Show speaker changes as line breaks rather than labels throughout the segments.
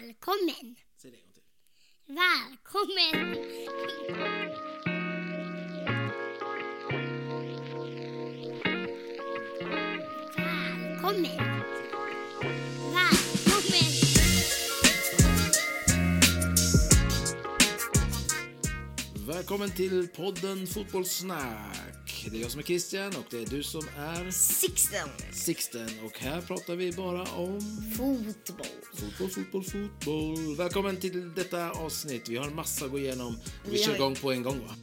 Välkommen!
Säg det en gång till.
Välkommen! Välkommen! Välkommen!
Välkommen till podden Fotbollssnack. Det är jag som är Christian och det är du som är
Sixten.
Sixten. Och här pratar vi bara om
Fotboll.
fotboll, fotboll, fotboll. Välkommen till detta avsnitt. Vi har en massa att gå igenom. Vi,
Vi
kör
har-
igång på en gång va?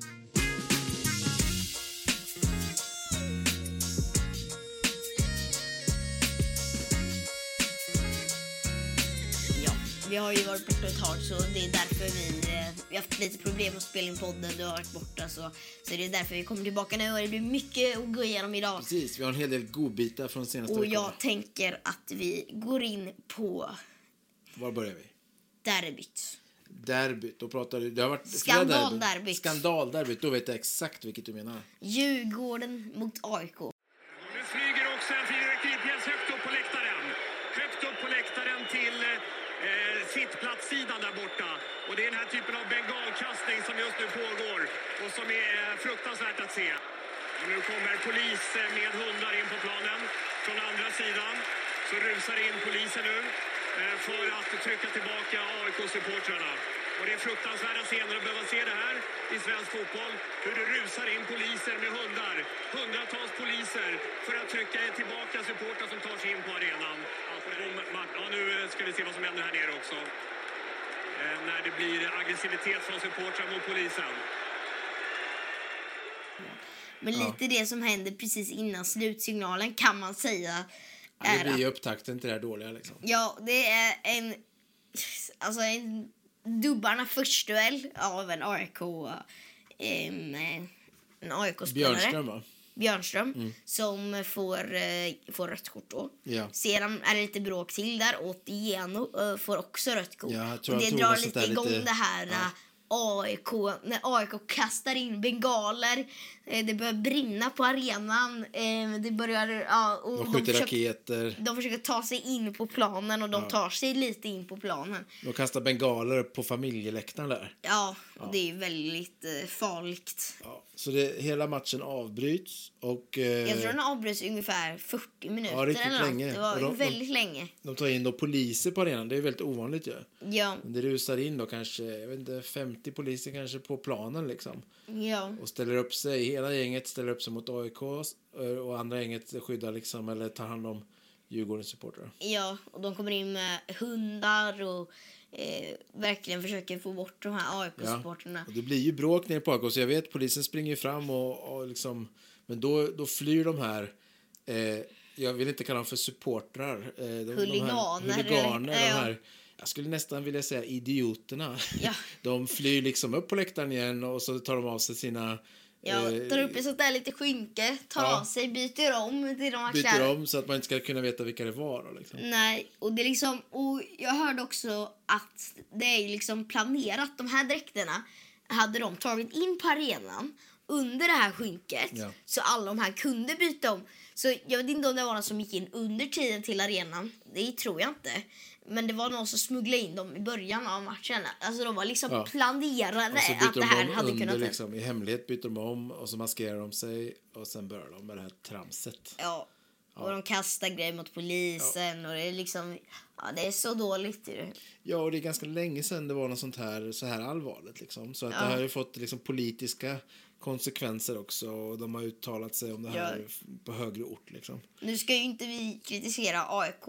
Ja, vi har ju varit borta ett tag så det är därför vi, eh, vi har haft lite problem att spela in podden. Du har varit borta så, så det är därför vi kommer tillbaka nu och det blir mycket att gå igenom idag.
Precis, vi har en hel del godbitar från senaste
Och
veckan.
jag tänker att vi går in på
Var börjar vi?
derbyt.
Derbyt. Då pratar du... Det har varit flera
Skandalderbyt.
derbyn. Skandalderbyt. Då vet jag exakt vilket du menar.
Djurgården mot AIK.
Nu flyger också en fyrverkeripjäs högt upp på läktaren. Högt upp på läktaren till eh, sittplatssidan där borta. Och det är den här typen av bengalkastning som just nu pågår och som är eh, fruktansvärt att se. Och nu kommer polis eh, med hundar in på planen. Från andra sidan så rusar in polisen nu eh, för att trycka tillbaka AIK-supportrarna. Och det är fruktansvärda scener att behöva se det här i svensk fotboll. Hur det rusar in poliser med hundar. Hundratals poliser för att trycka tillbaka supportrar som tar sig in på arenan. Ja, för de- Mart- Ja, nu eh, ska vi se vad som händer här nere också. Eh, När det blir aggressivitet från supportrar mot polisen.
Men
Ja.
lite det som händer precis innan slutsignalen kan man säga
Det
är
blir
att
ju upptakten till det här dåliga liksom.
Ja, det är en... Alltså en dubbarna först duell av en AIK... em, eh, en AIK-spelare.
Björnström va?
Björnström. Som får, eh, får rött kort då.
Mm. Ja.
Sedan är det lite bråk till där och Geno eh, får också rött kort.
Ja, jag tror
och det
jag tog
drar
något sånt
lite
där
igång
lite-
det här
ja.
eh, AIK, när AIK kastar in bengaler. Eh, det börjar brinna på arenan. Eh, det börjar... ja, och
De skjuter
försöker-
raketer.
de försöker ta sig in på planen och de tar sig lite in på planen.
De kastar bengaler på familjeläktaren där.
Ja, och det är ju väldigt eh, farligt.
Ja, så det, hela matchen avbryts och eh,
Jag tror den avbröts i ungefär 40 minuter
Ja, riktigt
eller något.
länge.
Det
Och
var
de- de-
väldigt länge.
de tar in då poliser på arenan. Det är väldigt ovanligt ju.
Ja,
Men det rusar in då kanske jag vet inte, 50 poliser kanske på planen liksom.
ja,
Och ställer upp sig, hela gänget ställer upp sig mot AIK eh, och andra gänget skyddar liksom eller tar hand om Djurgårdens supportrar.
ja. Och de kommer in med hundar och eh, verkligen försöker få bort de här AIK-supportrarna.
Och det blir ju bråk nere på AIK så jag vet polisen springer ju fram och, och liksom men då, då flyr de här eh, jag vill inte kalla dem för supportrar. Eh, de, De
Huliganer,
här, huliganer
eller-
de
ja.
här, jag skulle nästan vilja säga idioterna.
Ja.
De flyr liksom upp på läktaren igen och så tar de av sig sina...
Ja,
eh,
tar upp ett sånt där lite skynke, tar
ja.
av sig, byter om till de här
byter
kläderna.
om så att man inte ska kunna veta vilka det var. Då, liksom.
Nej, och det är liksom... Och jag hörde också att det är liksom planerat. De här dräkterna hade de tagit in på arenan under det här skynket
Ja.
så alla de här kunde byta om. Så jag vet inte om det var någon som gick in under tiden till arenan. Det tror jag inte. Men det var någon som smugglade in dem i början av matchen. Alltså de var liksom
Ja.
planerade
Och så
att
byter
Mm, det
de
här
om
hade
under,
kunnat hända.
liksom, I hemlighet byter de om och så maskerar de sig och sen börjar de med det här tramset.
Ja. Och de kastar grejer mot polisen och det är liksom... Ja, det är så dåligt ju.
Ja, och det är ganska länge sedan det var något sånt här, så här allvarligt. Liksom. Så att det
Ja.
har ju fått liksom, politiska konsekvenser också och de har uttalat sig om det här
Ja.
f- på högre ort. Liksom.
Nu ska ju inte vi kritisera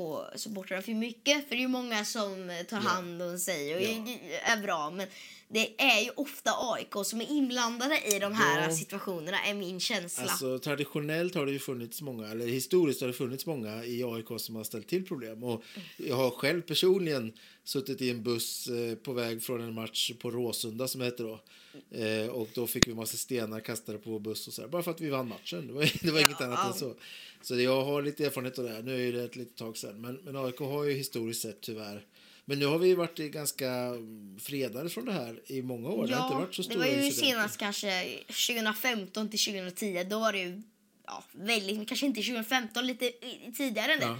AIK-supportrarna för mycket för det är ju många som eh, tar hand om sig och
Ja.
är bra men det är ju ofta AIK som är inblandade i de här
Ja.
eh, situationerna är min känsla.
Alltså, traditionellt har det ju funnits många, eller historiskt har det funnits många i AIK som har ställt till problem. Och jag har själv personligen suttit i en buss eh, på väg från en match på Råsunda som det hette då. Eh, och då fick vi en massa stenar kastade på vår buss och så här, bara för att vi vann matchen. Det var, det var inget
Ja,
annat
ja.
än så. Så det- jag har lite erfarenhet av det här. Nu är ju det ett litet tag sedan. Men, men AIK har ju historiskt sett tyvärr men nu har vi varit eh, ganska mm, fredade från det här i många år. det har inte
ja,
varit så
det
stora
var ju
incidenter.
senast kanske 2015 till 2010 då var det ju ja, väldigt, men kanske inte 2015, lite i- tidigare än det.
Ja,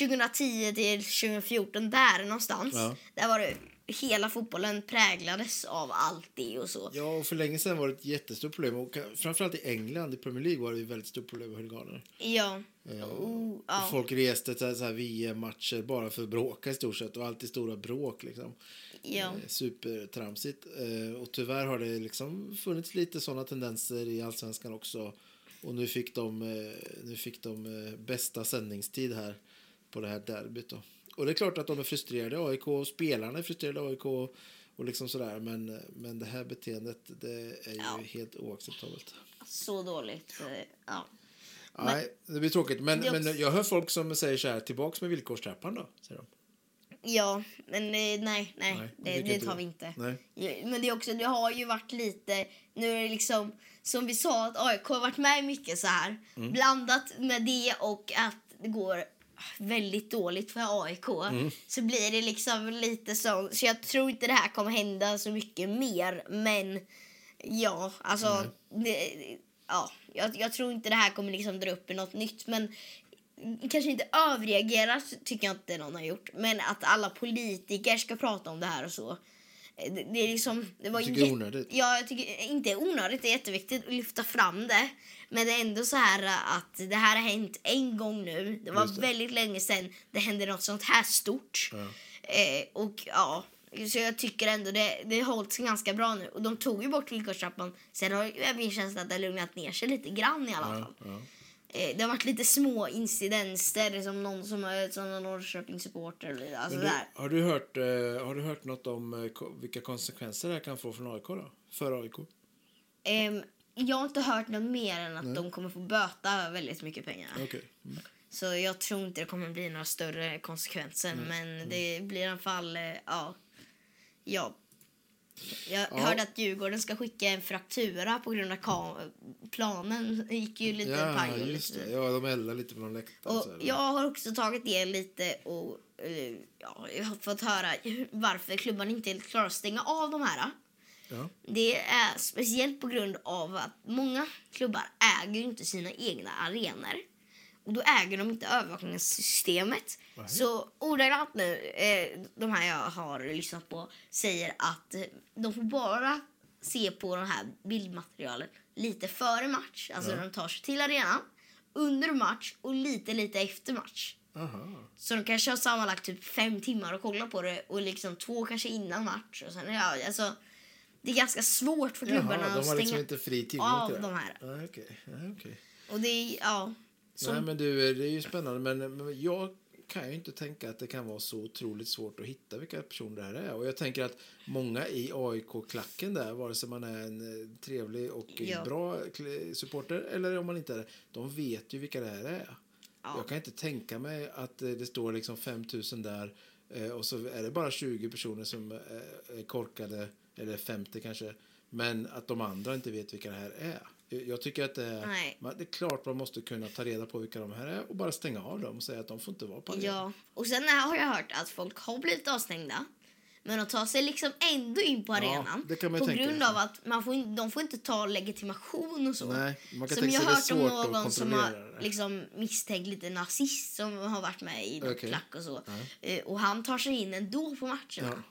ja.
2010 till 2014, där någonstans.
Ja.
Där var det, hela fotbollen präglades av allt det och så.
Ja, och för länge sedan var det ett jättestort problem. Och ka- framförallt i England, i Premier League, var det ett väldigt stort problem med huliganer.
Ja.
Eh,
Oh,
Och
ja.
Folk reste till så här VM-matcher bara för att bråka i stort sett. Och alltid stora bråk liksom.
ja.
Eh, Supertramsigt. Eh, Och tyvärr har det liksom funnits lite sådana tendenser i allsvenskan också. Och nu fick de, eh, nu fick de eh, bästa sändningstid här på det här derbyt då. Och det är klart att de är frustrerade, AIK, och spelarna är frustrerade, AIK och liksom sådär. Men, men det här beteendet, det är ju
Ja.
helt oacceptabelt.
Så dåligt. eh, Ja.
Nej, det blir tråkigt. Men,
Det är
men
också-
jag hör folk som säger så här, tillbaks med villkorstrappan då, säger de.
Ja, men eh, nej, nej,
Nej, vi
det,
fick
det
inte
tar
det.
vi inte.
Nej.
Ja, Men det är också, det har ju varit lite, nu är det liksom, som vi sa, att AIK har varit med i mycket så här.
Mm.
Blandat med det och att det går väldigt dåligt för AIK
Mm.
så blir det liksom lite så, så jag tror inte det här kommer hända så mycket mer, men ja, alltså, det, ja, jag, jag tror inte det här kommer liksom dra upp i något nytt, men kanske inte överreagera tycker jag inte någon har gjort, men att alla politiker ska prata om det här och så. Eh, Det, det är liksom... Det var
Du tycker det är
jä-
onödigt?
Ja, jag tycker inte onödigt. Det är jätteviktigt att lyfta fram det. Men det är ändå så här eh, att det här har hänt en gång nu. Det var
Just det.
väldigt länge sedan det hände något sånt här stort.
Ja.
Eh, och ja, så jag tycker ändå det, det har hållit sig ganska bra nu. Och de tog ju bort villkorstrappan. Sen har ju- jag min känsla att det har lugnat ner sig lite grann i alla fall.
Ja, ja.
Eh, Det har varit lite små incidenter som någon som är som någon Norrköpingssupporter eller lite, alltså
Men du,
där.
har, du hört, eh, har du hört något om eh, ko- vilka konsekvenser det här kan få från AIK då? För AIK?
Ehm, jag har inte hört något mer än att de kommer få böta väldigt mycket pengar.
Okej.
Så jag tror inte det kommer bli några större konsekvenser.
Mm.
Men det blir i alla fall, eh, ja. ja. Jag
Ja.
hörde att Djurgården ska skicka en fraktura på grund av ka- planen. Det gick ju lite paj.
Ja,
och
just
lite-
det. Ja, de eldar lite på någon läktare.
Och
så här.
jag har också tagit det lite och eh, ja, jag har fått höra varför klubban inte helt klarar att stänga av de här.
Ja.
Det är speciellt på grund av att många klubbar äger ju inte sina egna arenor. Och då äger de inte övervakningssystemet.
Nej.
Så ordagrant nu, eh, de här jag har lyssnat på, säger att eh, de får bara se på de här bildmaterialen lite före match, alltså
Ja.
när de tar sig till arenan, under match och lite, lite efter match.
Aha.
Så de kanske har sammanlagt typ fem timmar att kolla på det och liksom två kanske innan match. Och sen, ja, alltså, det är ganska svårt för
Jaha,
klubbarna
de
att
har
stänga
liksom inte fri tillgång
av
till det?
de här.
Nej, okej. Nej, okej.
Och det är, ja.
Nej,
Som,
men du, eh, det är ju spännande. Men, men jag kan ju inte tänka att det kan vara så otroligt svårt att hitta vilka personer det här är. Och jag tänker att många i AIK-klacken där, vare sig man är en eh, trevlig och eh,
Ja.
bra kl- supporter eller om man inte är det, de vet ju vilka det här är.
Ja.
Jag kan inte tänka mig att eh, det står liksom 5 000 där eh, och så är det bara 20 personer som eh, är korkade, eller 50 kanske, men att de andra inte vet vilka det här är. Eh, Jag tycker att det är
Nej.
men det är klart man måste kunna ta reda på vilka de här är och bara stänga av dem och säga att de får inte vara på arenan.
ja. Och sen har jag hört att folk har blivit avstängda. Men de tar sig liksom ändå in på arenan.
det kan man ju
på
tänka
grund
sig.
av att man får in, de får inte ta legitimation och så.
Nej, man kan
som
tänka
jag
sig
har
det är
hört om
svårt att
någon som
kontrollera
har
det.
liksom misstänkt lite nazist som har varit med i något
Okej.
klack och så. Eh, Och han tar sig in ändå på matcherna.
Ja.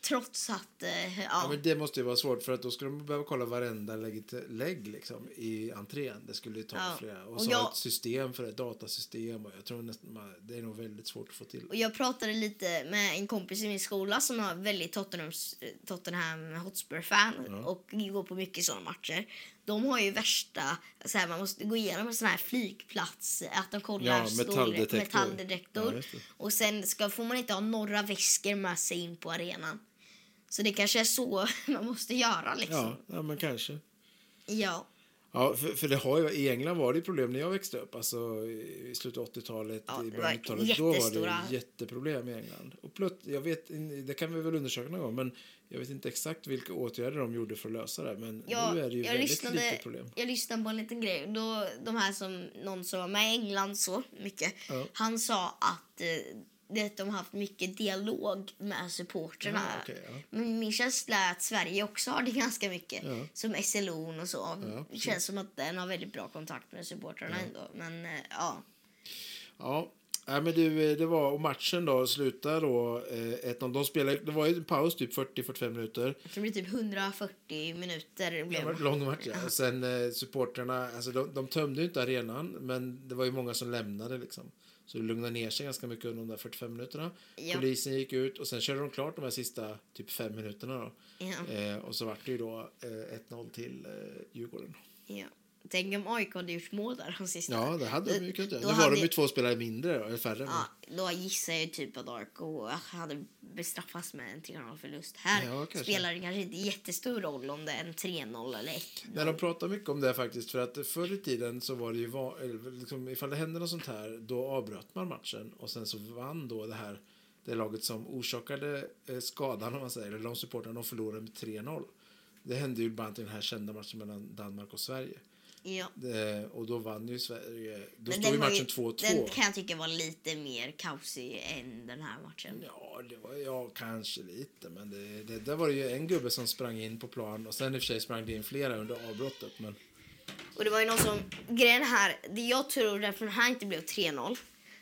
Trots att, eh, ja.
Ja, men det måste ju vara svårt för att då skulle de behöva kolla varenda lägg, lägg liksom, i entrén. Det skulle ju ta
Ja.
flera. Och,
Och
så
jag-
har ett system för ett datasystem och jag tror nästan man, det är nog väldigt svårt att få till.
Och jag pratade lite med en kompis i min skola som har väldigt Tottenhams, Tottenham Hotspur-fan och går på mycket sådana matcher. De har ju värsta, så här, man måste gå igenom en sån här flygplats, att de kollar
Ja,
stor-
metalldetektor.
metalldetektor.
Ja, just det.
och sen ska, får man inte ha några väskor med sig in på arenan. Så det kanske är så man måste göra liksom.
Ja, ja men kanske.
Ja. ja.
Ja, för, för det har ju, I England var det ju problem när jag växte upp, alltså i i slutet av 80-talet,
Ja,
i
det
början av
var
90-talet. Då var det
jättestora-
ju jätteproblem i England. Och plött, jag vet, in- det kan vi väl undersöka någon gång, men jag vet inte exakt vilka åtgärder de gjorde för att lösa det. Men
Jag,
nu är det ju
jag,
väldigt
lyssnade,
lite problem.
jag lyssnade på en liten grej. Då, de här som, någon som var med i England så mycket.
Ja.
Han sa att eh, att de har haft mycket dialog med supportrarna.
Ja, okej, ja.
Men min känsla är att Sverige också har det ganska mycket.
Ja.
Som SLO och så.
Ja,
det
precis.
känns som att den har väldigt bra kontakt med supportrarna ändå. Men eh, ja.
Ja. Nej, men du, eh, det var, och matchen då slutade då eh, 1-0. De spelade, det var ju en paus, typ 40-45 minuter.
Det blir typ 140 minuter.
Det
Blev.
var en lång match, ja. Och sen eh, supportrarna, alltså de, de tömde ju inte arenan, men det var ju många som lämnade liksom. Så det lugnade ner sig ganska mycket under de där 45 minuterna.
Ja.
Polisen gick ut och sen körde de klart de här sista typ fem minuterna då.
Ja.
Eh, och så vart det ju då eh, 1-0 till eh, Djurgården.
Ja. Tänk om AIK hade gjort mål där de sista.
Ja, det hade de ju
Då-
kunnat göra.
då
Nu var
hade-
de ju två spelare mindre, då, eller färre.
Ja, då gissar jag typ att AIK hade bestraffats med en 3-0-förlust. Här
Ja, kanske.
spelar det kanske inte jättestor roll om det är en 3-0 eller 1
När de pratar mycket om det faktiskt, för att förr i tiden så var det ju, va- eller liksom, ifall det hände något sånt här, då avbröt man matchen och sen så vann då det här, det laget som orsakade eh, skadan om man säger, eller de supportrarna, de förlorade med 3-0. Det hände ju bland annat i den här kända matchen mellan Danmark och Sverige.
Ja.
Det, och då vann ju Sverige, då
Men
stod ju
den var
matchen
Den
2-2.
kan jag tycka var lite mer kaosig än den här matchen.
Ja, det var, ja, kanske lite. Men det, det, där var det ju en gubbe som sprang in på plan och sen i och för sig sprang det in flera under avbrottet. Men
Och det var ju någon som, grejen här, det jag tror därför den här inte blev 3-0.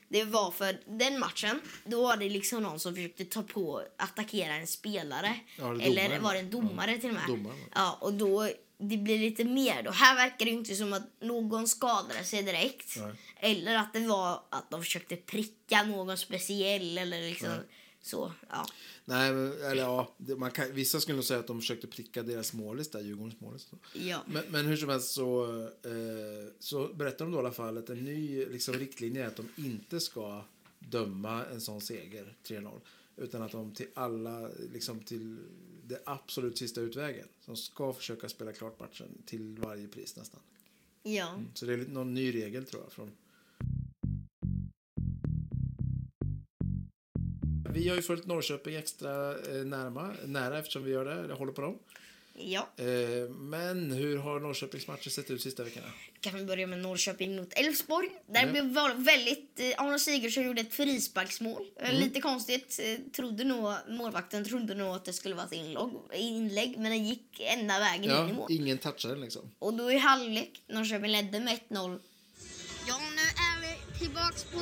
Det var för den matchen, då var det liksom någon som försökte ta på, attackera en spelare.
Ja, eller
Eller
domaren.
var det en domare till och med?
domaren.
Ja, och då, det blir lite mer då. Här verkar det ju inte som att någon skadade sig direkt.
Nej.
Eller att det var att de försökte pricka någon speciell eller liksom
Nej.
så. Ja.
Nej, men, eller ja, det, man kan, vissa skulle nog säga att de försökte pricka deras målis där, Djurgårdens målis.
ja.
Men, men hur som helst så, eh, så berättar de då i alla fall att en ny liksom, riktlinje är att de inte ska döma en sån seger, 3-0. Utan att de till alla, liksom till det absolut sista utvägen. De ska försöka spela klart matchen till varje pris nästan.
ja.
Så det är lite- någon ny regel tror jag. Från... Vi har ju följt Norrköping extra eh, närma, nära eftersom vi gör det, eller håller på dem.
Ja.
Eh, men hur har Norrköpings matcher sett ut sista veckorna?
kan vi börja med Norrköping mot Elfsborg. Där
Ja.
blev val- väldigt... Eh, Arne Sigurdsson gjorde ett frisparksmål. Eh,
Mm.
Lite konstigt. Eh, trodde nog, målvakten trodde nog att det skulle vara ett inlogg, inlägg, men den gick enda vägen in i
Ja,
mål.
ingen touchar den liksom.
Och då i halvlek, Norrköping ledde med 1-0.
Ja, nu är vi tillbaks på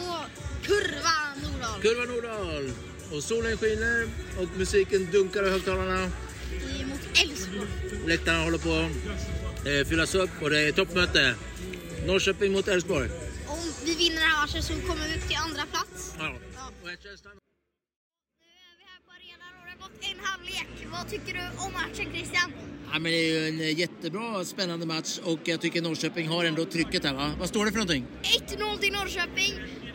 kurvan Nordahl.
Kurva Nordahl. Och solen skiner och musiken dunkar i högtalarna.
Mot Elfsborg.
Läktarna håller på att eh, fyllas upp och det är toppmöte. Norrköping mot Elfsborg.
Om vi vinner den här matchen så kommer vi upp till andra plats.
Ja. Och jag känslan-
Nu är vi här på arenan och det har gått en halvlek. Vad tycker du om matchen Christian?
Ja, men det är ju en eh, jättebra spännande match och jag tycker Norrköping har ändå trycket här va? Vad står det för någonting?
1-0 till Norrköping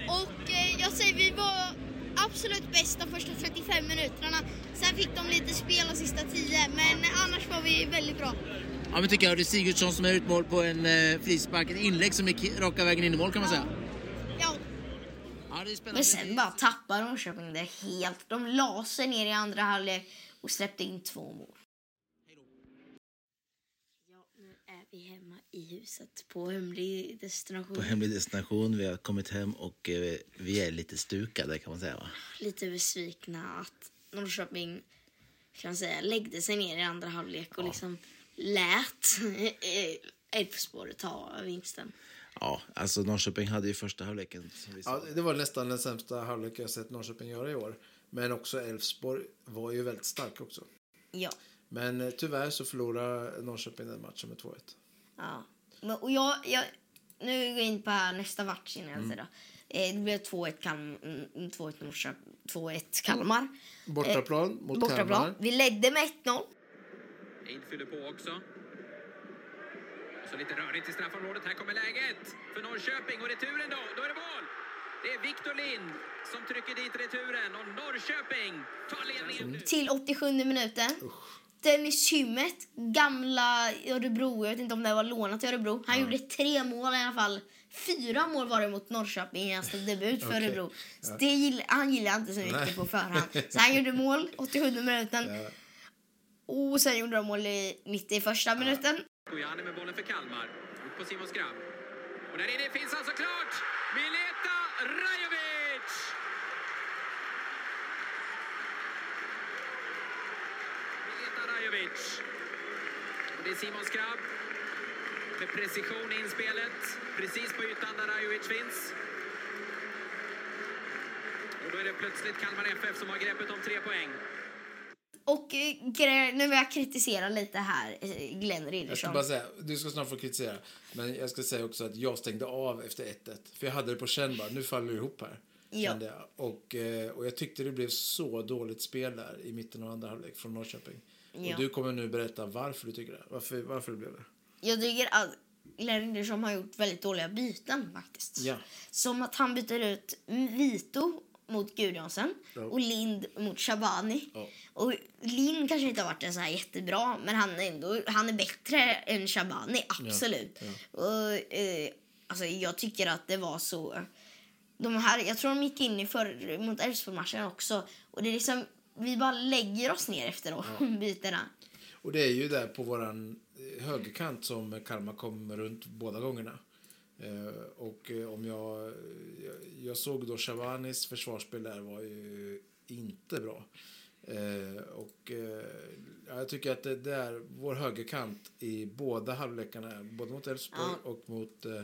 och eh, jag säger vi var absolut bäst de första 35 minuterna. Sen fick de lite spel de sista 10 men annars var vi väldigt bra.
Ja men tycker jag det är Sigurdsson som är ut mål på en eh, frispark, ett inlägg som gick raka vägen in i mål kan man säga.
Ja,
Ja det är spännande.
Men sen bara tappade Norrköping det helt. De la sig ner i andra halvlek och släppte in två mål. Ja, nu är vi hemma i huset på hemlig destination.
på hemlig destination. Vi har kommit hem och eh, vi är lite stukade kan man säga. Va?
lite besvikna att Norrköping kan man säga, läggde sig ner i andra halvlek och liksom lät Elfsborg ta vinsten.
Ja, alltså Norrköping hade ju första halvleken som vi sa.
Ja, det var nästan den sämsta halvlek jag sett Norrköping göra i år. Men också Elfsborg var ju väldigt stark också.
Ja.
Men eh, tyvärr så förlorade Norrköping den matchen med 2-1.
ja. Men, och jag, jag, nu går jag in på nästa match innan
Mm.
jag säger då. Eh, Det blev 2-1 Kalm, mm, 2-1 Norrköping, 2-1 Kalmar. Eh,
Bortaplan mot
Bortaplan.
Kalmar.
Vi ledde med 1-0.
Eid fyller på också. Och så lite rörigt i straffområdet. Här kommer läget för Norrköping och returen då. Då är det mål! Det är Victor Lind som trycker dit returen och Norrköping tar ledningen nu.
till 87 minuten. Dennis Hymmet, gamla Örebro, jag vet inte om det var lånat till Örebro. Han gjorde tre mål i alla fall. Fyra mål var det mot Norrköping i hans debut för
Okej.
Örebro. Så det gill, han gillade inte så mycket
Nej.
på förhand. Så han gjorde mål 87 minuten.
Ja.
Och sen gjorde de mål i 91 minuten.
Gojani med bollen för Kalmar. Ut på Simon Skrabb. alltså Och där inne finns han såklart! Mileta Rajovic! match. Och det är Simon Skrabb med precision i inspelet. Precis på ytan där Rajovic finns. Och då är det plötsligt Kalmar FF som har greppet om tre poäng.
Och eh, gre- nu vill jag kritisera lite här, eh, Glenn
Jag ska
Riddersson.
bara säga, du ska snart få kritisera. Men jag ska säga också att jag stängde av efter 1-1. För jag hade det på känn bara, nu faller det ihop här.
Ja.
Kände jag. Och, eh, och jag tyckte det blev så dåligt spel där i mitten av andra halvlek från Norrköping.
Ja.
Och du kommer nu berätta varför du tycker det. Varför, varför det blev det.
Jag tycker att Glenn Riddersson har gjort väldigt dåliga byten faktiskt.
Ja.
Som att han byter ut Vito mot Gudjonsen
Ja.
och Lind mot Shabani.
Ja.
Och Lind kanske inte har varit en så här jättebra, men han är, ändå, han är bättre än Shabani, absolut. Och, eh, alltså, jag tycker att det var så... De här, jag tror de gick in i för, mot Elfsborg-matchen också. Och det är liksom, vi bara lägger oss ner efter de bytena.
Och det är ju där på våran eh, högerkant som Kalmar kom runt båda gångerna. Eh, och eh, om jag, jag, jag såg då Shabanis försvarsspel där var ju inte bra. Eh, och eh, ja, jag tycker att det där, vår högerkant i båda halvlekarna, både mot Elfsborg och mot eh,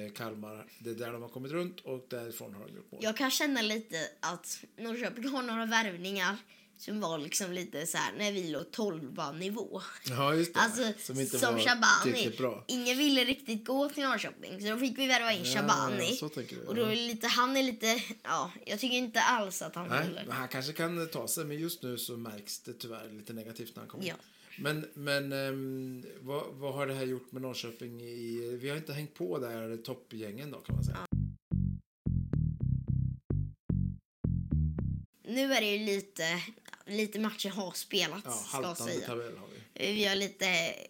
eh, Kalmar, det är där de har kommit runt och därifrån har de gjort mål.
Jag kan känna lite att Norrköping har några värvningar som var liksom lite så här när vi låg 12 nivå.
Ja, just det.
Alltså, som, Shabani.
tillräckligt bra.
Ingen ville riktigt gå till Norrköping, så då fick vi värva in
Ja,
Shabani.
så tänker du,
och då
ja.
är lite, han är lite... Ja, jag tycker inte alls att han
Nej,
håller.
men han kanske kan ta sig, men just nu så märks det tyvärr lite negativt när han kommer.
Ja.
Men, men ehm, vad, vad har det här gjort med Norrköping? I, vi har inte hängt på där toppgängen då kan man säga.
Nu är det ju lite... Lite matcher har spelats,
Ja,
ska
haltande
säga.
tabell har vi.
Vi har lite...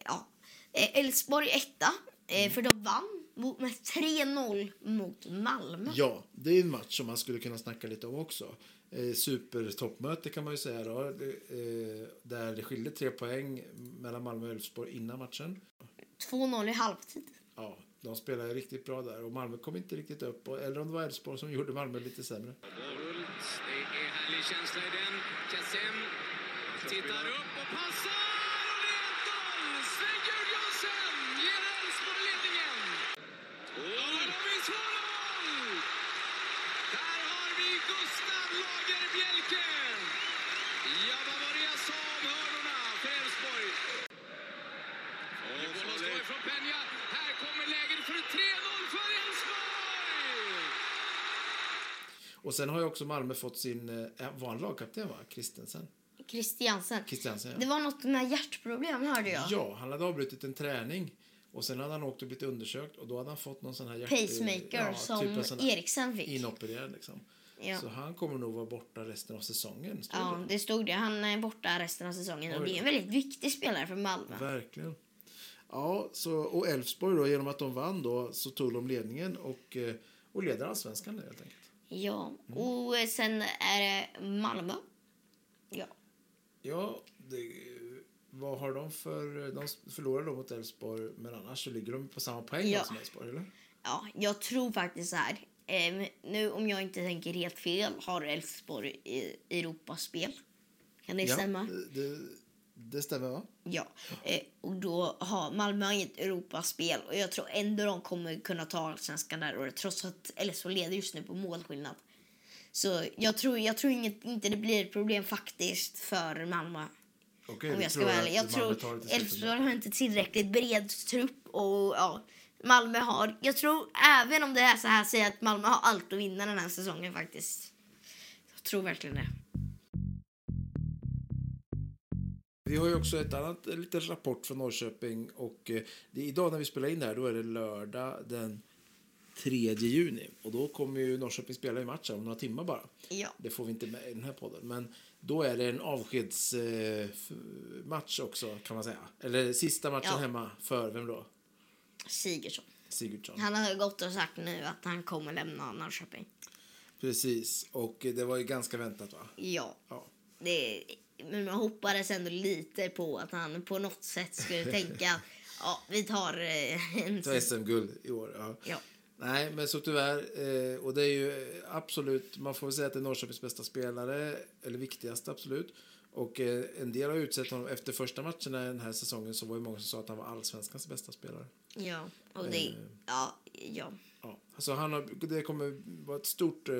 Ja. Eh, Elfsborg etta, eh, för de vann mot- med 3-0 mot Malmö.
Ja, det är en match som man skulle kunna snacka lite om också. Eh, supertoppmöte kan man ju säga då. Eh, där det skilde tre poäng mellan Malmö och Elfsborg innan matchen.
2-0 i halvtid.
Ja, de spelade riktigt bra där och Malmö kom inte riktigt upp. Och- Eller om det var Elfsborg som gjorde Malmö lite sämre.
Hult, det är härlig känsla i den. Kassem tittar upp och passar! Och det är ett noll! Sven-Georg Jansen ger Elfsborg ledningen. Och de är svåra mål! Där har vi Gustav Lagerbjälke! Ja, vad var det jag sa om hörnorna för Elfsborg? Och bollen står ifrån Peña. Här kommer läget för 3-0 för Elfsborg!
Och sen har ju också Malmö fått sin, eh, var han lagkapten va? Kristensen?
Christiansen.
Kristiansen
Det
ja.
var något med hjärtproblem hörde jag.
ja, han hade avbrutit en träning och sen hade han åkt och blivit undersökt och då hade han fått någon sån här hjärt...
Pacemaker
ja,
som
typ en sån här
Eriksen fick.
Inopererad liksom.
Ja.
Så han kommer nog vara borta resten av säsongen. står
Ja, det stod det. Han är borta resten av säsongen. Och
Oj.
det är en väldigt viktig spelare för Malmö.
det. Verkligen. Ja, så, och Elfsborg då, genom att de vann då så tog de ledningen och, eh, och leder allsvenskan helt enkelt.
Ja. Och eh, sen är det Malmö. Ja.
Ja, det, vad har de för... De förlorade då mot Elfsborg, men annars så ligger de på samma poäng
Ja.
då som Elfsborg, eller?
ja. Jag tror faktiskt så här. Eh, nu om jag inte tänker helt fel har Elfsborg i Europaspel. Kan det stämma?
Det, det, det stämmer, va?
Ja, eh, och då har Malmö inget Europaspel och jag tror ändå de kommer kunna ta allsvenskan där året trots att Elfsborg leder just nu på målskillnad. Så jag tror, jag tror inget, inte det blir ett problem faktiskt för Malmö.
Okej,
om
du
jag ska
tror
vara
att
ärlig. Jag
Malmö tar
tror
det till slut ändå.
Elfsborg har inte tillräckligt bred trupp och ja, Malmö har, jag tror även om det är så här, säger jag att Malmö har allt att vinna den här säsongen faktiskt. Jag tror verkligen det.
Vi har ju också ett annat en liten rapport från Norrköping. Och eh, det är idag när vi spelar in det här, då är det lördag den 3 juni. Och då kommer ju Norrköping spela i matchen om några timmar bara.
Ja.
Det får vi inte med i den här podden. Men då är det en avskedsmatch också kan man säga. Eller sista matchen
Ja.
hemma för, vem då?
Sigurdsson.
Sigurdsson.
Han har gått och sagt nu att han kommer lämna Norrköping.
Precis. Och eh, det var ju ganska väntat va?
Ja.
Ja.
Det, men man hoppades ändå lite på att han på något sätt skulle tänka ja, vi tar eh, en...
Ta SM-guld i år. Ja.
Ja.
Nej, men så tyvärr. Eh, och det är ju absolut, man får väl säga att det är Norrköpings bästa spelare, eller viktigaste absolut. Och eh, en del har utsett honom, efter första matchen den här säsongen så var ju många som sa att han var allsvenskans bästa spelare.
Ja, och
Eh.
det... Ja, ja.
Ja. Så Alltså, han har, det kommer vara ett stort eh,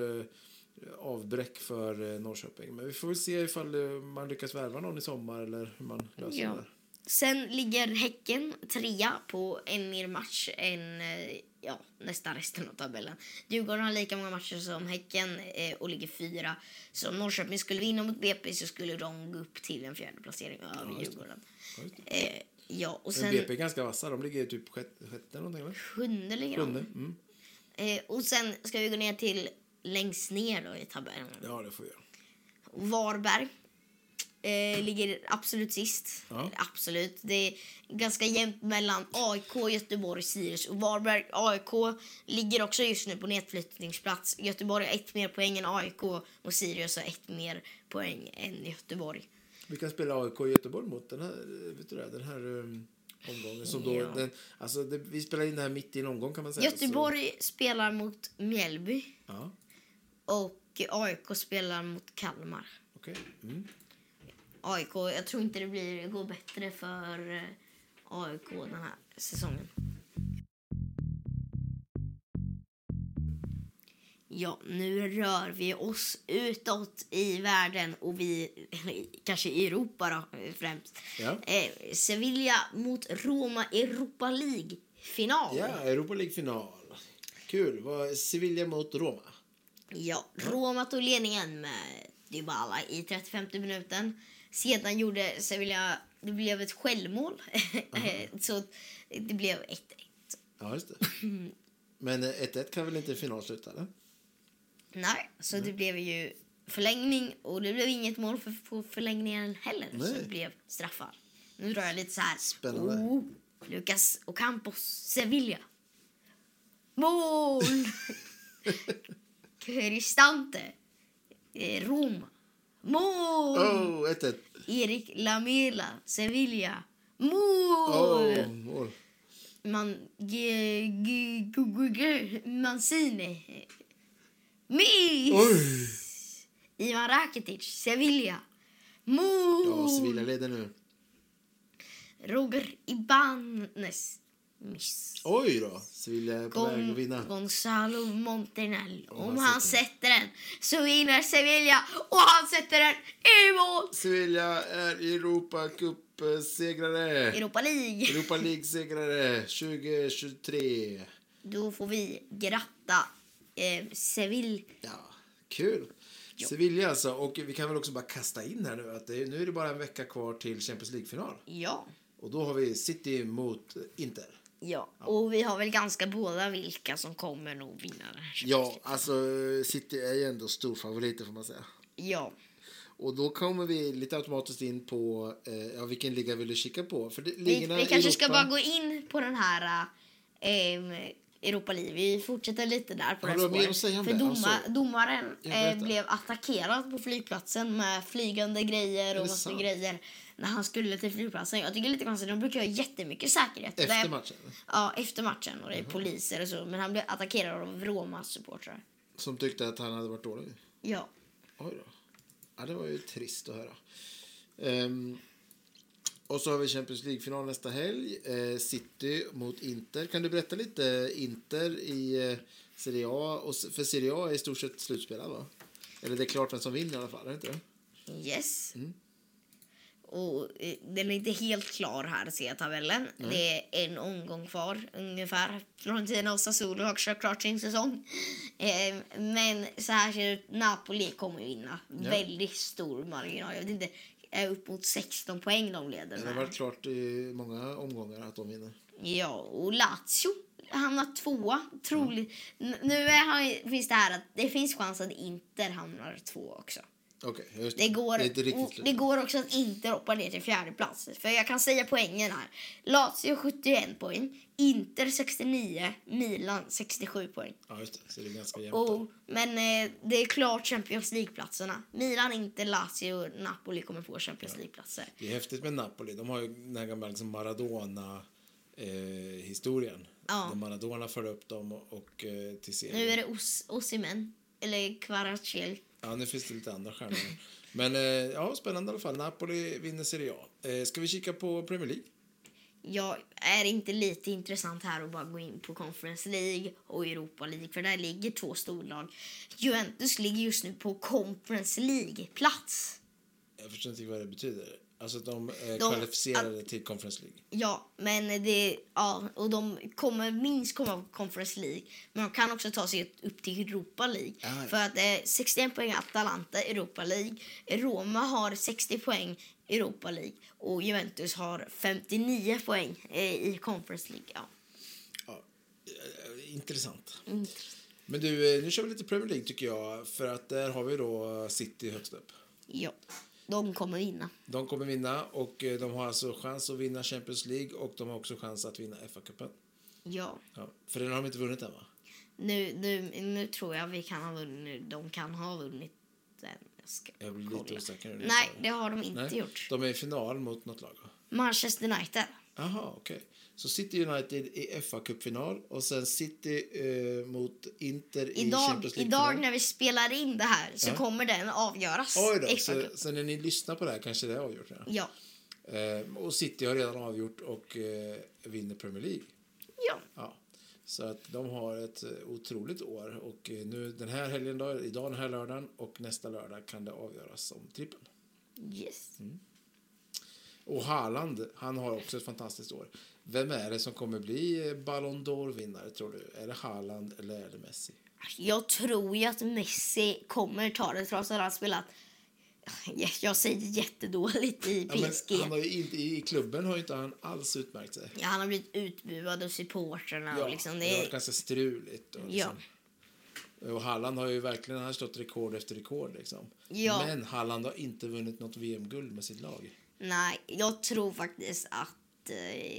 avbräck för eh, Norrköping. Men vi får väl se ifall eh, man lyckas värva någon i sommar eller hur man löser
Ja.
det.
Sen ligger Häcken trea på en mer match än eh, ja, nästan resten av tabellen. Djurgården har lika många matcher som Häcken eh, och ligger fyra. Så om Norrköping skulle vinna mot BP så skulle de gå upp till en fjärde placering över Djurgården.
Ja, just det.
Eh, ja, och
Men
sen
BP är ganska vassa, de ligger ju typ sjätte, sjätte eller någonting, eller?
sjunde ligger de.
Sjunde. Mm.
Eh, och sen ska vi gå ner till längst ner då i tabellen.
Ja, det får vi göra.
Varberg eh, ligger absolut sist.
Ja.
Absolut. Det är ganska jämnt mellan AIK, Göteborg, Sirius och Varberg. AIK ligger också just nu på nedflyttningsplats. Göteborg har ett mer poäng än AIK och Sirius har ett mer poäng än Göteborg.
Vi kan spela AIK i Göteborg mot den här, eh, vet du det, den här um, omgången. Som då,
Ja.
den, alltså det, vi spelar in det här mitt i en omgång kan man säga.
Göteborg spelar mot Mjällby
Så, ja,
och AIK spelar mot Kalmar.
okej. Mm.
AIK, jag tror inte det blir, går bättre för eh, AIK den här säsongen. Ja, nu rör vi oss utåt i världen och vi, kanske i Europa då eh, främst.
Ja.
Eh, Sevilla mot Roma Europa League-final.
ja, Europa League-final. Kul. Vad- Sevilla mot Roma.
Ja, Roma tog ledningen med Dybala i 35 minuten. Sedan gjorde Sevilla... Det blev ett självmål,
Mm.
så det blev 1-1.
Ja, just det. Men eh, 1-1 kan väl inte en final sluta, eller?
Nej, så
Mm.
det blev ju förlängning och det blev inget mål för, på förlängningen heller, så
Nej.
det blev straffar. Nu drar jag lite så här.
Spännande.
Oh, Lucas Ocampos, Sevilla. Mål! Cristante, eh, Roma. Mål!
Oh, 1-1.
Erik Lamela, Sevilla. Mål!
Oh, mål.
Man... G- g- g- g- g- Mancini. Miss!
Oj!
Ivan Rakitic, Sevilla. Mål!
Ja, Sevilla leder nu.
Roger Ibanez. Miss.
Oj då! Sevilla är på väg
Gon-
att vinna.
Gonzalo Montenel. Om
han
han sätter den så vinner Sevilla och han sätter den i mål!
Sevilla är Europa Cup-segrare.
Europa League.
Europa League-segrare 2023.
Då får vi gratta eh, Seville.
Ja, kul. Sevilla alltså. Och vi kan väl också bara kasta in här nu att det är, nu är det bara en vecka kvar till Champions League-final.
Ja.
Och då har vi City mot Inter.
ja. Och vi har väl ganska båda vilka som kommer nog vinna den här.
Ja, alltså City är ju ändå storfavoriter får man säga.
Ja.
Och då kommer vi lite automatiskt in på eh, ja, vilken liga vill du kika på? För det,
Vi,
ligorna
vi
i
kanske ska
Europa-
bara gå in på den här eh, Europa League. Vi fortsätter lite där på
Har
det
du
här
mer
spåret.
att säga om
För
det?
doma,
Alltså,
domaren
jag
eh,
berättar.
blev attackerad på flygplatsen med flygande grejer och
det
massa
sant?
grejer när han skulle till flygplatsen. Jag tycker det är lite konstigt. De brukar ha jättemycket säkerhet. Det
Efter
är-
matchen.
Ja, efter matchen. Och det är poliser och så. Men han blev attackerad av Romas supportrar.
Som tyckte att han hade varit dålig.
Ja.
Oj då. Ja, det var ju trist att höra. Ehm, och så har vi Champions League-final nästa helg. Eh, City mot Inter. Kan du berätta lite Inter i eh, Serie A? Och, s- för Serie A är i stort sett slutspelad, va? Eller det är klart vem som vinner i alla fall, är det inte det?
Yes.
Mm.
Och eh, den är inte helt klar här ser jag tabellen.
Mm.
Det är en omgång kvar ungefär. Fiorentina och Sassuolo har kört klart sin säsong. Eh, men så här ser det ut. Napoli kommer ju vinna. Väldigt stor marginal. Jag vet inte. Är upp mot 16 poäng de
Det
leder
har
med.
varit klart i många omgångar att de vinner.
Ja, och Lazio hamnar tvåa. Troligt.
Mm.
N- Nu är han, finns det här att det finns chans att Inter hamnar tvåa också.
Okej, just
Det går,
Det är inte riktigt
och
slut.
det går också att inte hoppa ner till fjärde plats. För jag kan säga poängen här. Lazio 71 poäng, Inter 69, Milan 67 poäng.
Ja, just det. Så det är ganska jämnt.
Och, men eh, det är klart Champions League-platserna. Milan, inte Lazio och Napoli kommer få Champions League-platser.
Det är häftigt med Napoli. De har ju den här gamla liksom Maradona-historien.
Ja.
eh, När Maradona förde upp dem och, och eh, till seger.
Nu är det Os- Osimhen. Eller Kvaratskhelia.
Ja, nu finns det lite andra stjärnor. Men eh, ja, spännande i alla fall. Napoli vinner Serie A. Eh, ska vi kika på Premier League?
Jag är inte lite intressant här att bara gå in på Conference League och Europa League för där ligger två storlag. Juventus ligger just nu på Conference League-plats.
Jag förstår inte vad det betyder. Alltså att de, eh, kvalificerade till Conference League.
Ja, men det, ja, och de kommer minst komma på Conference League. Men de kan också ta sig upp till Europa League.
Ah, ja.
För att eh, 61 poäng Atalanta Europa League. Roma har 60 poäng Europa League. Och Juventus har 59 poäng eh, i Conference League. Ja.
Ja. eh, Intressant. Men du, eh, nu kör vi lite Premier League tycker jag. För att där har vi då City högst upp.
ja, de kommer vinna.
De kommer vinna och eh, de har alltså chans att vinna Champions League och de har också chans att vinna FA-cupen.
Ja.
Ja, för den har de inte vunnit än va?
Nu, nu, nu tror jag vi kan ha vunnit. De kan ha vunnit den. Jag, ska
Jag blir lite
kolla.
osäker nu.
Nej, det har de inte
Mm, Nej,
gjort.
De är i final mot något lag va?
Manchester United.
Aha, okej. Så City United i FA-cupfinal och sen City eh, mot Inter i
Idag,
Champions
idag
League-final.
när vi spelar in det här så
Ja.
kommer den avgöras.
Oj då,
Extra
så,
Cup.
så när ni lyssnar på det här kanske det är avgjort. Ja.
Ja.
Eh, och City har redan avgjort och eh, vinner Premier League.
ja.
Ja. Så att de har ett eh, otroligt år. Och eh, nu den här helgen, då, idag den här lördagen och nästa lördag kan det avgöras om trippeln.
Yes.
Och Haaland, han har också ett fantastiskt år. Vem är det som kommer bli eh, Ballon d'Or-vinnare tror du? Är det Haaland eller är det Messi?
Jag tror ju att Messi kommer ta det trots att han spelat... Jag säger jättedåligt i
Ja, men
PSG.
han har ju inte, I klubben har ju inte han alls utmärkt sig.
Ja, han har blivit utbuad av supportrarna. och liksom
det har
det
varit ganska struligt. Och,
Ja.
liksom. och Halland har ju verkligen han har slått rekord efter rekord. Liksom.
Ja.
Men Halland har inte vunnit något VM-guld med sitt lag.
Nej, jag tror faktiskt att... Eh,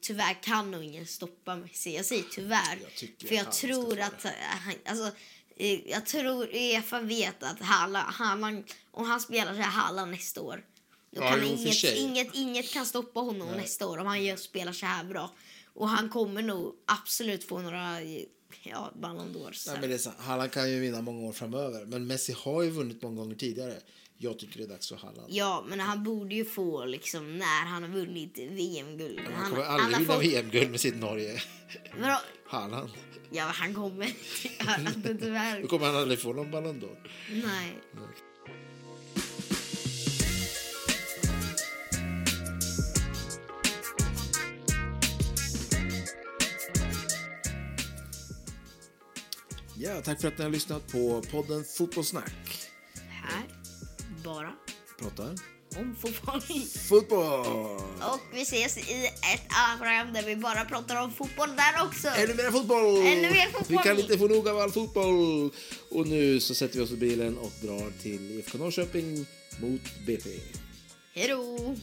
tyvärr kan nog ingen stoppa Messi. Jag säger tyvärr.
Jag tycker
för jag
att han
tror
ska
att... Han, alltså, eh, jag tror Uefa vet att Haaland, Haaland, om han spelar så här Haaland nästa år då
Ja,
kan
jo, för
inget,
sig.
inget, inget kan stoppa honom nästa år om han gör, spelar så här bra. Och han kommer nog absolut få några eh, ja, Ballon d'Or.
Nej,
sen.
men det är sant. Halland kan ju vinna många år framöver. Men Messi har ju vunnit många gånger tidigare. Jag tycker det är dags för Halland.
Ja, men han borde ju få liksom när han har vunnit VM-guld.
Han kommer aldrig vinna
fått-
VM-guld med sitt Norge.
Vadå?
Halland.
Ja, han kommer inte göra det tyvärr.
Då kommer han aldrig få någon Ballon d'Or.
Nej.
Ja, tack för att ni har lyssnat på podden Fotbollssnack.
Här. Bara
Pratar
om fotboll.
fotboll!
Och vi ses i ett annat program där vi bara pratar om fotboll där också.
Ännu mer fotboll!
Ännu mer fotboll!
Vi kan inte få nog av all fotboll! Och nu så sätter vi oss i bilen och drar till IFK Norrköping mot BP.
Hej då!